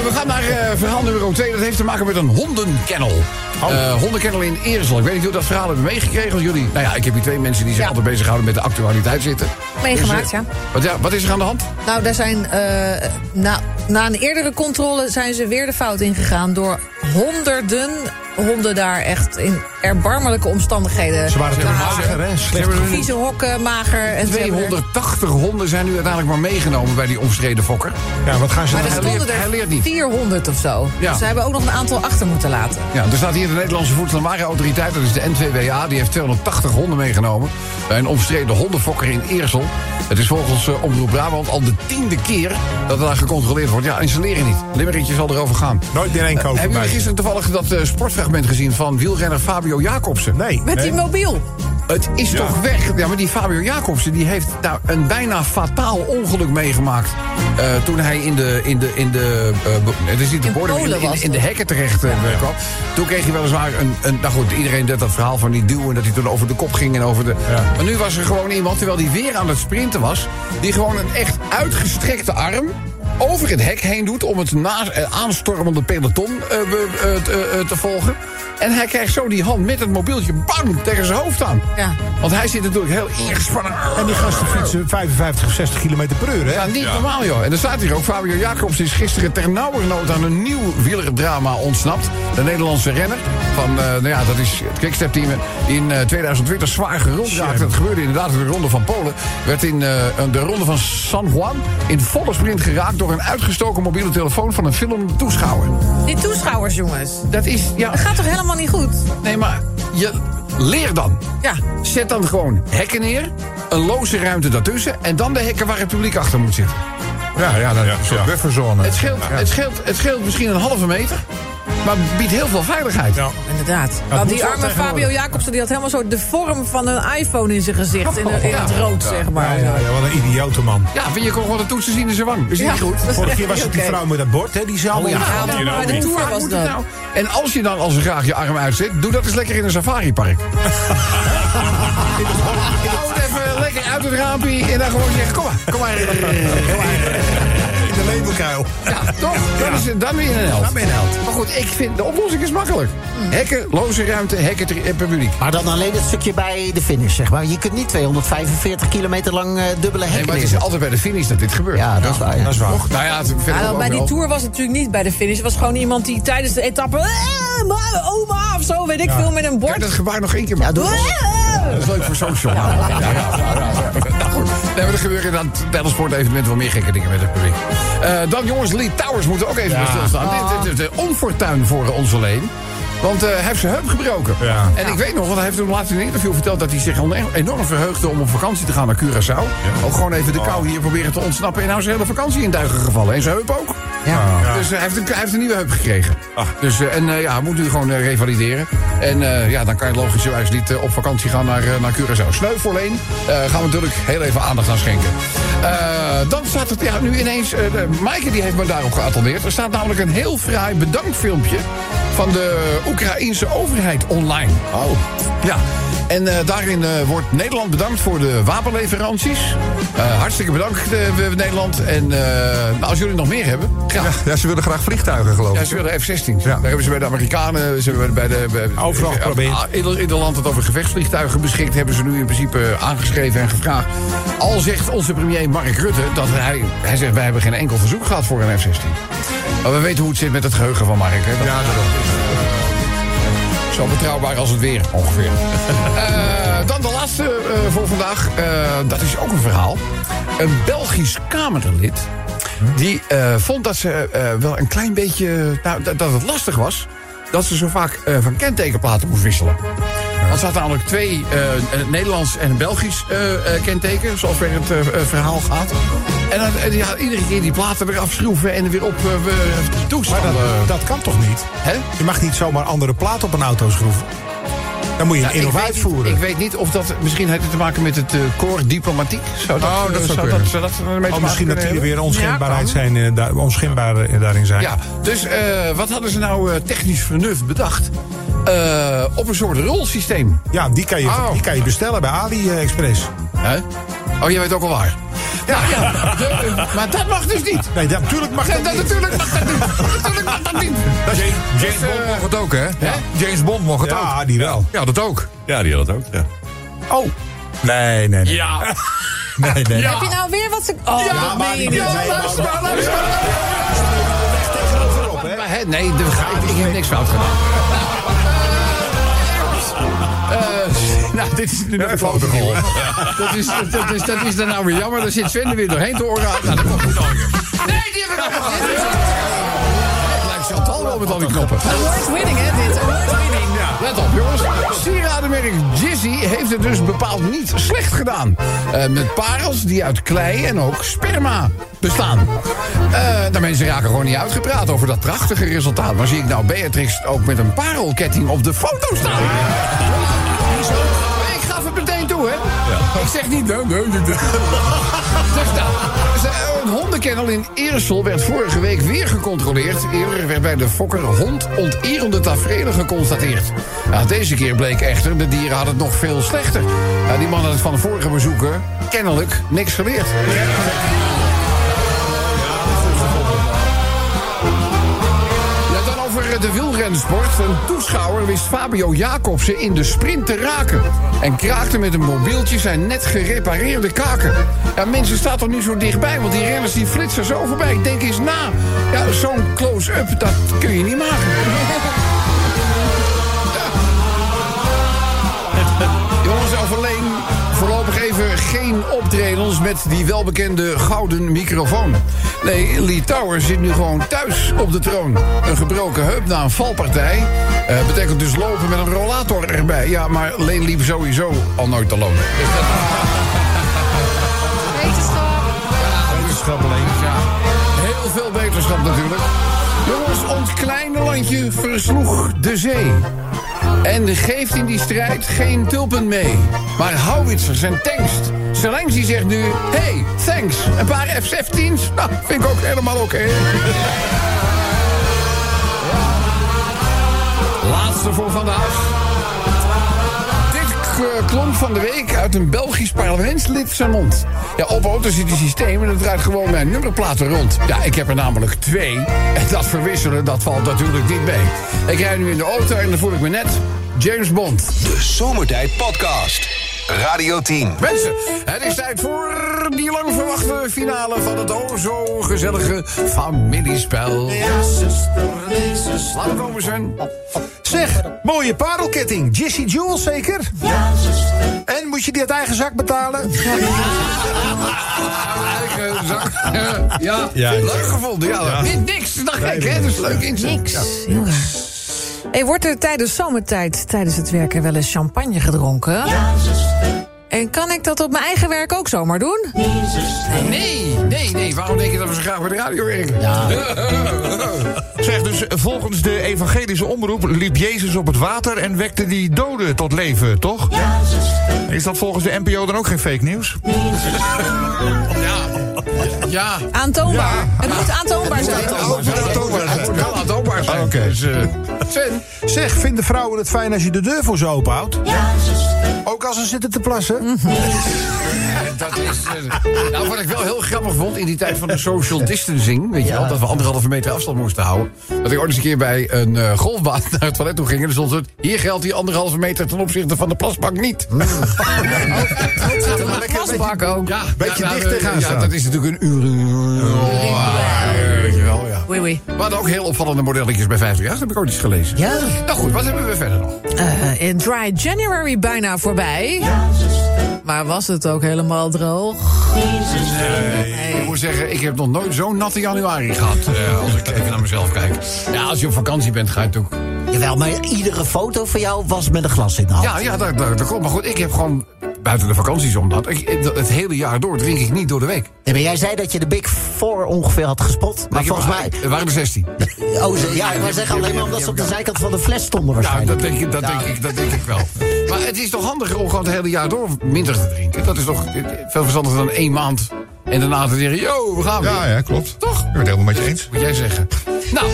S2: we gaan naar eh, verhaal nummer 2. Dat heeft te maken met een hondenkennel. Eh, hondenkennel in Eersel. Ik weet niet hoe dat verhaal hebben meegekregen. want Jullie, nou ja, ik heb hier twee mensen die zich
S5: Ja.
S2: altijd bezighouden met de actualiteit zitten.
S5: Meegemaakt,
S2: eh,
S5: ja.
S2: Wat, ja. Wat is er aan de hand?
S5: Nou, daar zijn, eh, na, na een eerdere controle zijn ze weer de fout ingegaan... door honderden honden daar echt in erbarmelijke omstandigheden.
S6: Ze waren toen mager, hè?
S2: Ze
S6: Slecht.
S2: hebben er nu
S5: Vieze hokken, mager en ze hebben er-
S2: 280 honden zijn nu uiteindelijk maar meegenomen bij die omstreden fokker.
S6: Ja, wat gaan ze
S5: Maar
S6: dan
S5: er
S2: leert-
S5: stonden
S2: hij leert
S5: er
S2: niet.
S5: 400 of zo.
S2: Ja.
S5: Dus ze hebben ook nog een aantal achter moeten laten.
S2: Ja, er staat hier de Nederlandse Voedselwarenautoriteit, dat is de NVWA. Die heeft 280 honden meegenomen bij een omstreden hondenfokker in Eersel. Het is volgens eh, Omroep Brabant al de tiende keer dat er daar gecontroleerd wordt. Ja, en ze leren niet. Limmeretje zal erover gaan. Eh,
S6: Nooit meer één kopen.
S2: Hebben jullie
S6: bij.
S2: gisteren toevallig dat eh, sportfragment gezien van wielrenner Fabio Jacobsen?
S6: Nee.
S5: Met die mobiel.
S2: Het is toch weg. Ja, maar die Fabio Jacobsen die heeft daar een bijna fataal ongeluk meegemaakt. Eh, toen hij in de. In de, in de eh, be- het is niet de
S5: In
S2: borden, maar in,
S5: Polen
S2: de- in,
S5: was
S2: in de
S5: dat.
S2: hekken terecht eh, kwam. Toen kreeg hij weliswaar een, een. Nou goed, iedereen deed dat verhaal van die duwen. Dat hij toen over de kop ging en over de. Maar nu was er gewoon iemand, terwijl hij weer aan het sprinten was. die gewoon een echt uitgestrekte arm. over het hek heen doet. om het na, eh, aanstormende peloton eh, be- eh, t- eh, eh, te volgen. En hij krijgt zo die hand met het mobieltje. bang tegen zijn hoofd aan.
S5: Ja.
S2: Want hij zit natuurlijk heel ingespannen.
S6: En die gasten fietsen 55 of 60 kilometer per uur, hè?
S2: Ja, niet normaal, joh. En er staat hier ook, Fabio Jacobs is gisteren ter nauwernood aan een nieuw wielerdrama ontsnapt. De Nederlandse renner van, eh, nou ja, dat is het Quickstep-team in eh, 2020 zwaar gerond raakte. Dat gebeurde inderdaad in de Ronde van Polen. Werd in eh, een- de Ronde van San Juan in volle sprint geraakt door een uitgestoken mobiele telefoon van een filmtoeschouwer. toeschouwer.
S5: Die toeschouwers, jongens.
S2: Dat is, ja,
S5: Dat gaat toch helemaal niet goed?
S2: nee, maar je leer dan.
S5: Ja.
S2: Zet dan gewoon hekken neer, een loze ruimte daartussen en dan de hekken waar het publiek achter moet zitten.
S9: Ja, ja, dat is een soort bufferzone.
S2: Het scheelt, het, scheelt, het scheelt misschien een halve meter, maar biedt heel veel veiligheid.
S6: Ja.
S5: Inderdaad. Nou,
S6: moet
S5: die
S6: wel
S5: arme Fabio
S6: tegenwoordig.
S5: Jacobsen die had helemaal zo de vorm van een iPhone in zijn gezicht. In, de- in het rood, zeg
S6: Ja,
S5: maar.
S6: ja, ja, wat een idiote man.
S2: Ja, vind je kon gewoon de toetsen zien in zijn wang. Is niet
S5: Ja.
S2: goed?
S6: Vorige keer was het die
S5: Oké.
S6: vrouw met dat bord, hè? Die zei
S2: Oh,
S6: allemaal...
S5: Ja, maar bij de
S2: Hoe
S5: Tour
S2: vaak
S5: was
S2: moet het
S5: dat.
S2: nou? En als je dan al zo graag je arm uitzet, doe dat eens lekker in een safaripark. Hou het even lekker uit het raampje en dan gewoon zeggen: kom maar, kom maar. Kom maar.
S6: In de labelkuil.
S2: Ja, toch? Dan, is, het- dan ben je een held.
S6: Dan ben je nou. een held.
S2: Maar goed, ik vind de oplossing is makkelijk. Hekken, loze ruimte, Mm. hekken ter- en publiek.
S8: Maar dan alleen het stukje bij de finish, zeg maar. Je kunt niet 245 kilometer lang eh, dubbele hekken
S2: Nee, maar het is
S8: neerzetten.
S2: altijd bij de finish dat dit gebeurt.
S8: Ja, dat is waar. ja.
S6: Dat is waar.
S2: Toch? Nou ja, het verder
S5: Ja,
S2: ook
S5: bij die
S2: wel.
S5: Tour was het natuurlijk niet bij de finish. Het was gewoon iemand die tijdens de etappe... "Eh, ma- Oma of zo, weet ik veel, met een
S2: Kijk
S5: bord.
S2: dat gebaar nog één keer maar.
S8: doe
S5: "Eh."
S2: dat is leuk voor social. Ja, ja, ja, ja, ja. Nou, goed. Nee, maar er gebeuren inderdaad tijdens sportevenementen wel meer gekke dingen met het publiek. Eh, dan jongens, Lee Towers moeten ook even bij stilstaan. Dit- Dit is een onfortuin voor onze leen. Want eh, hij heeft zijn heup gebroken.
S6: Ja.
S2: En ik weet nog, want hij heeft toen laatst in een interview verteld... dat hij zich on- enorm verheugde om op vakantie te gaan naar Curaçao. Ook gewoon even de kou hier proberen te ontsnappen. En nou is zijn hele vakantie in duigen gevallen. En zijn heup ook. Dus eh, hij, heeft een, hij heeft een nieuwe heup gekregen. Dus, eh, en eh, ja, hij moet nu gewoon eh, revalideren. En eh, ja, dan kan je logischerwijs niet eh, op vakantie gaan naar, eh, naar Curaçao. Sneu voor Leen. Eh, gaan we natuurlijk heel even aandacht aan schenken. Eh, dan staat het ja, nu ineens... eh de- Maaike die heeft me daarop geattendeerd. Er staat namelijk een heel fraai bedankfilmpje... van de Oekraïense overheid online. Oh. Ja. En eh, daarin eh, wordt Nederland bedankt voor de wapenleveranties. Eh, hartstikke bedankt, eh, Nederland. En eh, nou, als jullie nog meer hebben, graag.
S9: Ja, ze willen graag vliegtuigen, geloof
S2: Ja,
S9: ik.
S2: ze willen F-16. Daar hebben ze bij de Amerikanen, ze hebben bij de... Bij,
S6: Overal
S2: eh,
S6: geprobeerd.
S2: ah, In, in het land dat over gevechtsvliegtuigen beschikt... hebben ze nu in principe eh, aangeschreven en gevraagd. Al zegt onze premier Mark Rutte dat hij... Hij zegt, wij hebben geen enkel verzoek gehad voor een F-16. Maar we weten hoe het zit met het geheugen van Mark. Hè? Dat-
S6: Ja, daarom.
S2: zo betrouwbaar als het weer, ongeveer. Eh, dan de laatste eh, voor vandaag. Eh, dat is ook een verhaal. Een Belgisch Kamerlid... die eh, vond dat ze eh, wel een klein beetje... Nou, dat, dat het lastig was... dat ze zo vaak eh, van kentekenplaten moest wisselen. Want ze had namelijk twee, eh, een Nederlands en een Belgisch eh, eh, kenteken, zoals weer het eh, eh, verhaal gaat. En dan en die had iedere keer die platen weer afschroeven en weer op eh, weer toestanden.
S6: Maar dat, dat kan toch niet? Je mag niet zomaar andere plaat op een auto schroeven. Dan moet je een
S2: Nou, ik
S6: innovatie
S2: weet niet-
S6: voeren.
S2: Ik weet niet of dat. Misschien heeft het te maken met het eh koor diplomatiek. Zou dat,
S6: Oh, dat
S2: eh,
S6: zou
S2: zou
S6: kunnen.
S2: dat, zou dat ermee te
S6: Oh,
S2: maken
S6: misschien dat
S2: kunnen
S6: die er weer
S2: hebben?
S6: onschendbaarheid
S2: Ja, kan.
S6: zijn, eh, daar- onschendbaar eh, daarin zijn.
S2: Ja, dus eh, wat hadden ze nou eh, technisch vernuft bedacht? Eh, op een soort rolsysteem.
S6: Ja, die kan je, die kan je bestellen bij eh, AliExpress.
S2: Hè? Oh, jij weet ook al waar. Ja, ja. de- eh, maar dat mag dus niet.
S6: Nee, dat- natuurlijk mag
S2: Nee,
S6: dat
S2: dat
S6: niet.
S2: Natuurlijk mag dat niet. Natuurlijk mag dat niet.
S9: James, James
S2: Dus, eh,
S9: Bond mocht het ook, hè? James Bond mocht het ook.
S6: Ja, die wel.
S9: Ja, dat ook.
S3: Ja, die had het ook, ja.
S6: Oh. Nee, nee, nee.
S2: Ja.
S6: nee, nee.
S5: Heb je nou weer wat ze... Oh, dat meen je niet.
S2: luister maar, luister maar. Maar, hè, nee, de, ik heb niks fout gedaan. Eh, nou, dit is nu nog een foto Dat is, dat, dat is, dat is dan nou weer jammer. Daar zit Sven er weer doorheen te oren. Nou, dat komt niet aan. Nee, die hebben we nog niet. Het lijkt Chantal wel met al die knoppen.
S5: Award winning, hè, dit. Award winning.
S2: Let op, jongens. Sieradenmerk Jizzy heeft het dus bepaald niet slecht gedaan. Eh, met parels die uit klei en ook sperma bestaan. Eh de mensen raken gewoon niet uitgepraat over dat prachtige resultaat. Maar zie ik nou Beatrix ook met een parelketting op de foto staan? Ik gaf het meteen toe, hè? Ik zeg niet... Nee, nee, nee, nee. Dus nou, ze- een hondenkennel in Eersel werd vorige week weer gecontroleerd. Eerder werd bij de fokker hond onterende tafereelen geconstateerd. Nou, deze keer bleek echter, de dieren hadden het nog veel slechter. Nou, die man had het van de vorige bezoeker kennelijk niks geleerd. Ja, dan over eh, de wielrensport. Een toeschouwer wist Fabio Jacobsen in de sprint te raken. En kraakte met een mobieltje zijn net gerepareerde kaken. Ja, mensen staan toch niet zo dichtbij, want die renners die flitsen zo voorbij. Denk eens na. Ja, zo'n close-up, dat kun je niet maken. Jongens, overleen voorlopig even geen optredens met die welbekende gouden microfoon. Nee, Lee Tower zit nu gewoon thuis op de troon. Een gebroken heup na een valpartij. eh, betekent dus lopen met een rollator erbij. Ja, maar Leen liep sowieso al nooit te lopen.
S5: Wetenschap.
S2: Wetenschap alleen. Ja. Heel veel wetenschap natuurlijk. Jongens, ons kleine landje versloeg de zee. En geeft in die strijd geen tulpen mee. Maar howitzers en tanks. Zelensky zegt nu, hey, thanks. Een paar F-16's, nou, vind ik ook helemaal oké. Laatste voor vandaag. Dit k- klonk van de week uit een Belgisch parlementslid zijn mond. Ja, op auto zit een systeem en dat draait gewoon mijn nummerplaten rond. Ja, ik heb er namelijk twee. En dat verwisselen, dat valt natuurlijk niet mee. Ik rij nu in de auto en dan voel ik me net James Bond.
S1: De Zomertijd Podcast. Radio 10.
S2: Mensen, het is tijd voor die lang verwachte finale van het o zo gezellige familiespel.
S7: Ja, zuster, nee, zuster.
S2: Laten we komen, Sven.
S6: Zeg, mooie parelketting. Jesse Jewel zeker?
S7: Ja, zuster.
S6: En moet je die uit eigen zak betalen?
S2: Eigen zak. Ja,
S6: Ja,
S2: leuk gevonden. Ja, Niet niks, dacht ik, hè? Dat is leuk inzet.
S5: Niks. Heel raar. Hey, wordt er tijdens zomertijd, tijdens het werken, wel eens champagne gedronken?
S7: Ja, zuster.
S5: En kan ik dat op mijn eigen werk ook zomaar doen?
S7: Nee, zuster.
S2: Nee, nee, nee. Waarom denk je dat we zo graag bij de radio werken?
S9: Zeg dus, volgens de evangelische omroep liep Jezus op het water en wekte die doden tot leven, toch?
S7: Ja, zuster.
S9: Is dat volgens de NPO dan ook geen fake nieuws?
S7: Nee, zuster.
S2: Ja.
S5: Aantoonbaar. Het moet aantoonbaar zijn.
S2: Het moet wel aantoonbaar zijn.
S6: Oké.
S2: Dus, eh, Sven,
S6: Zeg, vinden vrouwen het fijn als je de deur voor ze open houdt?
S7: Ja, zuster.
S6: Ook als ze zitten te plassen?
S2: dat is... eh, nou, wat ik wel heel grappig vond in die tijd van de social distancing... weet je wel, dat we anderhalve meter afstand moesten houden... dat ik ooit eens een keer bij een eh, golfbaan naar het toilet toe ging... en er stond het, hier geldt die anderhalve meter ten opzichte van de plasbank niet.
S5: Wasbak ook.
S2: Ja,
S6: Beetje
S2: ja,
S6: dicht tegenaan
S2: Ja,
S6: staan.
S2: dat is natuurlijk een uur... Weet je wel, ja.
S5: Oei, oei.
S2: We hadden ook heel opvallende modelletjes bij 538, heb ik ook iets gelezen.
S8: Ja.
S2: Nou goed, wat hebben we verder nog?
S5: Eh, in dry January bijna voorbij. Maar was het ook helemaal droog?
S2: Ik moet zeggen, ik heb nog nooit zo'n natte januari gehad. eh, als ik even naar mezelf kijk. Ja, als je op vakantie bent, ga je natuurlijk...
S8: Jawel, maar iedere foto van jou was met een glas in de hand.
S2: Ja, ja dat, dat, dat klopt. Maar goed, ik heb gewoon buiten de vakanties om dat. Ik, dat- het hele jaar door drink ik niet door de week.
S8: Nee, maar jij zei dat je de Big Four ongeveer had gespot. Maar
S2: Ik heb-
S8: volgens mij...
S2: Er waren er 16.
S8: Oh, ze- ja, ik wou zeggen alleen maar omdat ze op de zijkant van de fles stonden
S2: Ja,
S8: waarschijnlijk.
S2: dat denk, ik, dat, denk ik, dat denk ik wel. Maar het is toch handiger om gewoon het hele jaar door minder te drinken? Dat is toch eh, veel verstandiger dan één maand. En daarna te zeggen, yo, we gaan weer.
S6: Ah,
S3: Ja, ja, klopt.
S2: Toch?
S3: Ik ben het helemaal met je eens.
S2: Moet jij zeggen. Nou.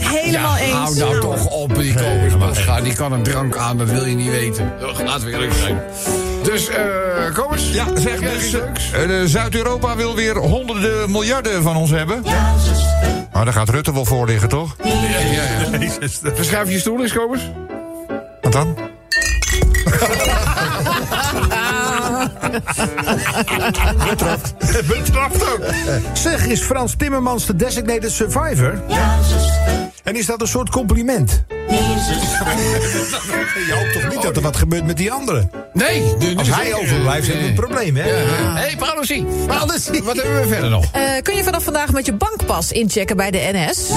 S5: Helemaal
S2: ja,
S5: eens.
S2: Hou nou toch op, die Kobus Ga, Die kan een drank aan, dat wil je niet weten. Ugh, Laten we eerlijk zijn. Dus, eh, Kobus?
S9: Ja, zeg
S2: jij
S9: dus.
S2: iets leuks?
S9: eh, de Zuid-Europa wil weer honderden miljarden van ons hebben. Maar daar gaat Rutte wel voor liggen, toch?
S2: Ja, ja, ja. Verschuif je stoel eens, Kobus.
S9: Wat dan?
S6: Betrapt ook. Zeg, is Frans Timmermans de designated survivor? En is dat een soort compliment? Oh, Je hoopt toch niet dat er wat gebeurt met die anderen?
S2: Nee, nu- nu
S6: Als
S2: is
S6: hij
S2: het-
S6: overblijft, hebben we een probleem, hè?
S2: Hé, Eh, hey, Paulusie. Nou, Wat hebben we verder nog?
S5: Eh, kun je vanaf vandaag met je bankpas inchecken bij de NS?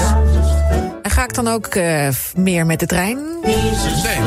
S5: En ga ik dan ook eh, f- meer met de trein?
S2: Nee,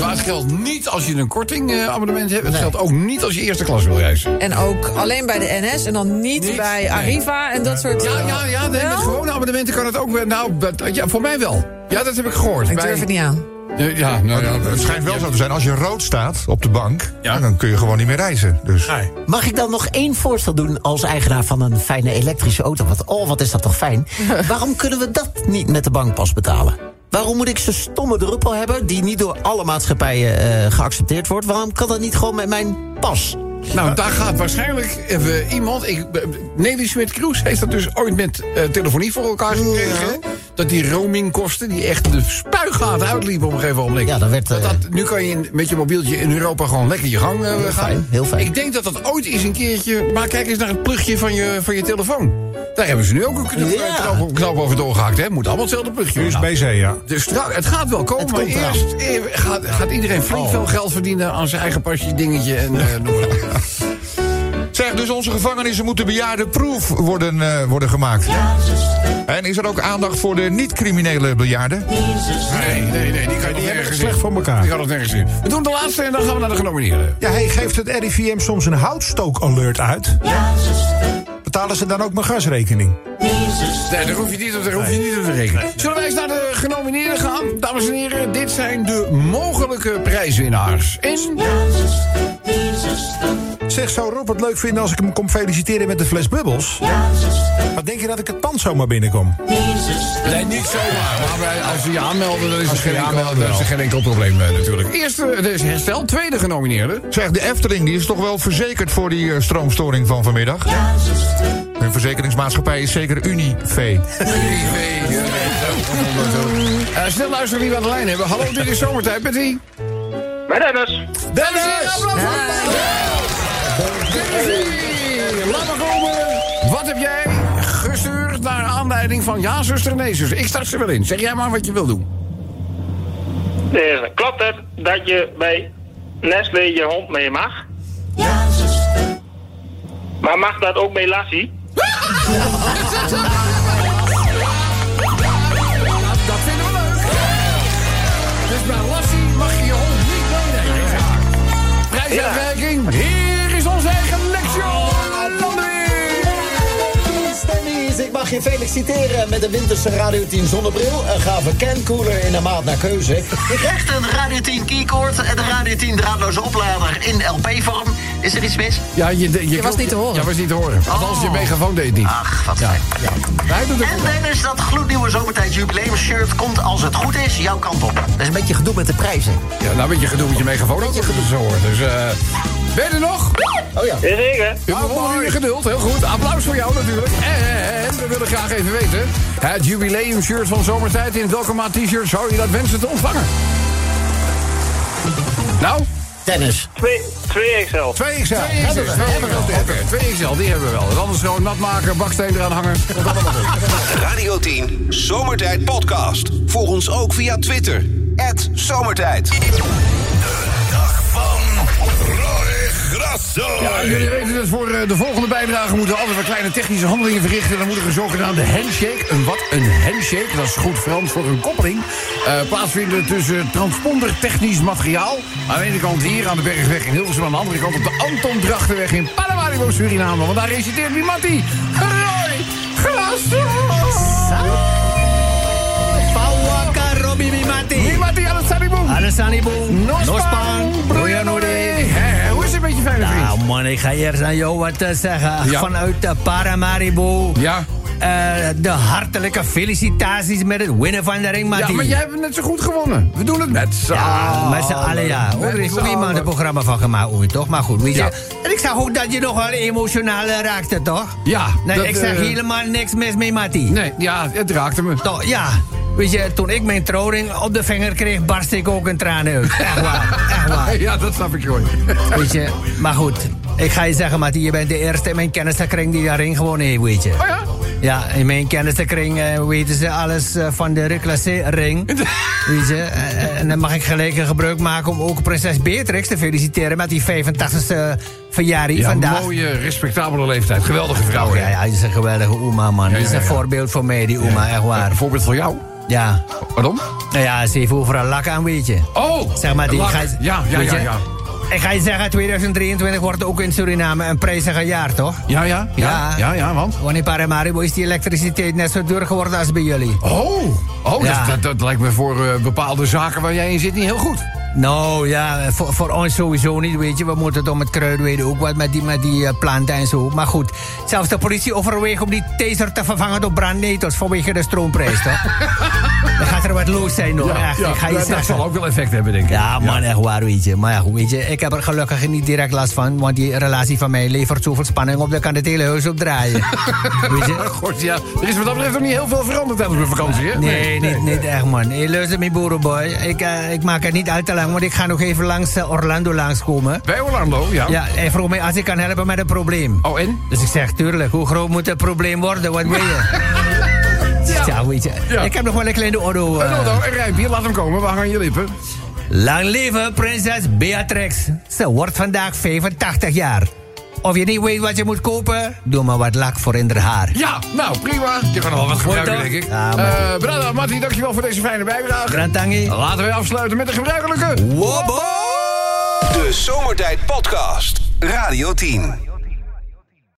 S2: maar het geldt niet als je een kortingabonnement hebt. Het geldt ook niet als je eerste klas wil reizen.
S5: En ook alleen bij de NS en dan niet,
S2: Niet?
S5: bij Arriva en dat soort...
S2: Ja, ja, ja. Nee, met
S5: Wel?
S2: gewone abonnementen kan het ook. wel. Nou, dat- ja, voor mij wel. Ja, dat heb ik gehoord.
S5: Ik
S2: Bij-
S5: durf het niet aan.
S2: Ja, ja, nou, ja,
S9: Het schijnt wel zo te zijn, als je rood staat op de bank...
S2: Ja.
S9: dan kun je gewoon niet meer reizen. Dus.
S8: Mag ik dan nog één voorstel doen als eigenaar van een fijne elektrische auto? Want oh, wat is dat toch fijn? Waarom kunnen we dat niet met de bankpas betalen? Waarom moet ik zo'n stomme druppel hebben die niet door alle maatschappijen eh, geaccepteerd wordt? Waarom kan dat niet gewoon met mijn pas?
S2: Nou, daar gaat waarschijnlijk even iemand. Ik, eh, Nelly Smit Kroes heeft dat dus ooit met eh, telefonie voor elkaar gekregen. Dat die roamingkosten, die echt de spuigaten uitliepen op een gegeven moment.
S8: Ja, dat werd, eh,
S2: dat, nu kan je in- met je mobieltje in Europa gewoon lekker je gang eh, gaan.
S8: fijn, heel fijn.
S2: Ik denk dat dat ooit eens een keertje. Maar kijk eens naar het plugje van je, van je telefoon. Daar hebben ze nu ook een knop,
S8: Ja.
S2: eh, knop- knop over doorgehakt. Hè? Moet allemaal hetzelfde plugje. Nou,
S6: USB-C, ja.
S2: dus trouw- het Oh. gaat wel komen,
S8: Het
S2: maar
S8: komt eraan.
S2: eerst eh, gaat, gaat iedereen flink veel geld verdienen aan zijn eigen pasje dingetje en eh noem maar op.
S9: Zeg, dus onze gevangenissen moeten bejaardenproof worden, eh, worden gemaakt. En is er ook aandacht voor de niet-criminele bejaarden?
S2: Nee, nee, nee, die kan je
S6: Die hebben het
S2: nergens
S6: slecht
S2: in.
S6: voor elkaar.
S2: Die kan het nergens in. We doen de laatste en dan gaan we naar de genomineerden.
S6: Ja, hey, geeft het RIVM soms een houtstook-alert uit? Betalen ze dan ook mijn gasrekening?
S2: Nee, daar hoef je niet op, daar hoef je niet op te rekenen. Zullen wij eens naar de genomineerden gaan? Dames en heren, dit zijn de mogelijke prijswinnaars. En
S6: Zeg, zou Rob het leuk vinden als ik hem kom feliciteren met de fles bubbels? Maar denk je dat ik het pand zomaar binnenkom?
S2: Nee, niet zomaar. Maar wij- als ze je aanmelden, dan is er
S6: Als ze
S2: geen
S6: je
S2: enkel,
S6: aanmelden,
S2: dan is er
S6: wel.
S2: geen enkel probleem eh, natuurlijk. Eerste, dus herstel. Tweede genomineerde.
S9: Zeg, de Efteling die is toch wel verzekerd voor die eh, stroomstoring van vanmiddag? Hun verzekeringsmaatschappij is zeker Unive.
S2: Eh, snel luisteren wie we aan de lijn hebben. Hallo, dit is Zomertijd met die...
S11: Met Dennis.
S2: Dennis!
S5: Ah.
S2: Dennis! Laat maar komen. Wat heb jij gestuurd naar aanleiding van ja, zuster, nee, zuster? Ik start ze wel in. Zeg jij maar wat je wil doen.
S11: Dus, klopt het dat je bij Nestlé je hond mee mag? Maar mag dat ook bij Lassie?
S2: Dat vinden we leuk. Dus bij Lassie mag je je hond niet meenemen. Prijsuitreiking. Hier is onze eigen Lexion.
S8: Stemmies, ik mag je feliciteren met een winterse Radio 10 zonnebril, een gave cancooler in de maat naar keuze. Je krijgt een Radio 10 keycord en een Radio 10 draadloze oplader in LP-vorm. Is er iets mis?
S2: Ja, je, je,
S5: was niet te horen.
S2: Je was niet te horen. Althans, je megafoon deed het niet.
S8: Ach, wat fijn. Ja.
S2: Wij doen het
S8: En Dennis, dat gloednieuwe zomertijd jubileumshirt komt als het goed is jouw kant op. Dat is een beetje gedoe met de prijzen.
S2: Ja, nou, een beetje gedoe met je megafoon ook, als ik het zo hoor. Dus, eh ben je er nog?
S11: Jazeker.
S2: U bewondert uw geduld, heel goed. Applaus voor jou natuurlijk. En we willen graag even weten... het jubileumshirt van Zomertijd... in welke maat t-shirt zou je dat wensen te ontvangen? Nou,
S8: Dennis.
S11: 2 XL.
S2: 2XL. 2XL, die hebben we wel. En Anders gewoon nat maken, baksteen eraan hangen. Dat allemaal wel goed.
S1: Radio 10 Zomertijd Podcast. Volg ons ook via Twitter. Zomertijd.
S7: Van Roy.
S2: Grasso! Ja, jullie weten dat voor eh, de volgende bijdrage moeten we altijd wat kleine technische handelingen verrichten. Dan moet er een zogenaamde handshake, een wat een handshake, dat is goed Frans voor een koppeling, eh, plaatsvinden tussen transponder technisch materiaal. Aan de ene kant hier aan de Bergweg in Hilversum, aan de andere kant op de Anton Drachtenweg in Paramaribo, Suriname. Want daar reciteert die Matti. Roy Grasso!
S10: Pauwaka Robby Mimati.
S2: Mimati Alessaniboom.
S10: Alessaniboom. Nospang. Broeien
S2: Hoe is het met je fijne vriend?
S10: Nou man, ik ga eerst aan jou wat eh, zeggen.
S2: Ja.
S10: Vanuit eh, Paramaribo. Eh,
S2: Ja.
S10: de hartelijke felicitaties met het winnen van de ring, Matti.
S2: Ja, maar jij hebt net zo goed gewonnen. We doen het met z'n Ah,
S10: Ja, met z'n allen, ja.
S2: Met
S10: Oei,
S2: z'n
S10: oei, maar
S2: allen.
S10: een programma van gemaakt, oei, toch? Maar goed, weet je.
S2: Ja.
S10: En ik zag ook dat je nog wel emotioneel eh, raakte, toch?
S2: Ja.
S10: Nee,
S2: dat,
S10: ik zeg
S2: eh,
S10: helemaal niks mis mee, Matti.
S2: Nee, ja, het raakte me.
S10: Toch, ja. Weet je, toen ik mijn trouwring op de vinger kreeg, barst ik ook een traan uit. Echt waar, echt waar.
S2: Ja, dat snap ik, Roy.
S10: Weet je, maar goed. Ik ga je zeggen, Matti, je bent de eerste in mijn kennissenkring die daar ring gewonnen heeft, weet je.
S2: Oh ja?
S10: Ja, in mijn kennissenkring eh, weten ze alles eh, van de reclassé-ring. Weet je, eh, en dan mag ik gelijk een gebruik maken om ook prinses Beatrix te feliciteren met die 85ste verjaardag
S2: Ja,
S10: vandaag. Oh,
S2: mooie, respectabele leeftijd. Geweldige vrouw, hè?
S10: Ja, ja, die is een geweldige oma, man.
S2: Ja,
S10: Die is
S2: ja,
S10: een
S2: ja.
S10: voorbeeld voor mij, die oma, echt waar.
S2: Een voorbeeld voor jou?
S10: Ja.
S2: Waarom?
S10: Nou ja, ze heeft overal lak aan, weet je.
S2: Oh!
S10: Zeg maar, die
S2: lak.
S10: ga-
S2: Ja, ja,
S10: weet
S2: ja,
S10: je,
S2: ja.
S10: Ik ga je zeggen, 2023 wordt ook in Suriname een prijzige jaar, toch?
S2: Ja, ja, ja, ja, ja, want?
S10: Want in Paramaribo is die elektriciteit net zo duur geworden als bij jullie.
S2: Oh, oh
S10: Ja.
S2: dat, dat, dat lijkt me voor eh, bepaalde zaken waar jij in zit niet heel goed.
S10: Nou ja, voor, voor ons sowieso niet, weet je. We moeten het om het kruid weten, ook wat met die, met die eh, planten en zo. Maar goed, zelfs de politie overweegt om die taser te vervangen door brandnetels vanwege de stroomprijs, toch? Dan gaat er wat los zijn, hoor. echt, ik ga je
S2: dat, dat
S10: zeggen.
S2: zal ook wel effect hebben, denk ik.
S10: Ja, man, echt waar, weet je. Maar ja, goed, weet je, ik heb er gelukkig niet direct last van... want die relatie van mij levert zoveel spanning op... dat kan het hele huis opdraaien. weet je?
S2: Goed, ja. Er is wat dat betreft nog niet heel veel veranderd tijdens mijn vakantie, hè?
S10: Nee, niet, niet echt, man. Hey, luister, mijn boerenboy. Ik, eh, ik maak het niet al te lang, want ik ga nog even langs eh, Orlando langskomen.
S2: Bij Orlando, ja.
S10: Ja, hij vroeg mij als ik kan helpen met een probleem.
S2: Oh, en?
S10: Dus ik zeg, tuurlijk, hoe groot moet het probleem worden? Wat wil je? ja. weet je.
S2: Ja.
S10: Ik heb nog wel een kleine auto.
S2: Eh, nou, nou, een rijmpje, laat hem komen. We hangen je lippen.
S10: Lang leven, prinses Beatrix. Ze wordt vandaag 85 jaar. Of je niet weet wat je moet kopen, doe maar wat lak voor in haar haar.
S2: Ja, nou, prima. Je kan er wel wat
S10: Mooi
S2: gebruiken,
S10: toch?
S2: denk ik.
S10: Ja,
S2: Eh
S10: maar-
S2: Brada, Matti, dankjewel voor deze fijne bijdrage.
S10: Grantangi.
S2: Laten we afsluiten met de gebruikelijke...
S10: Wobbo!
S1: De Zomertijd Podcast. Radio 10.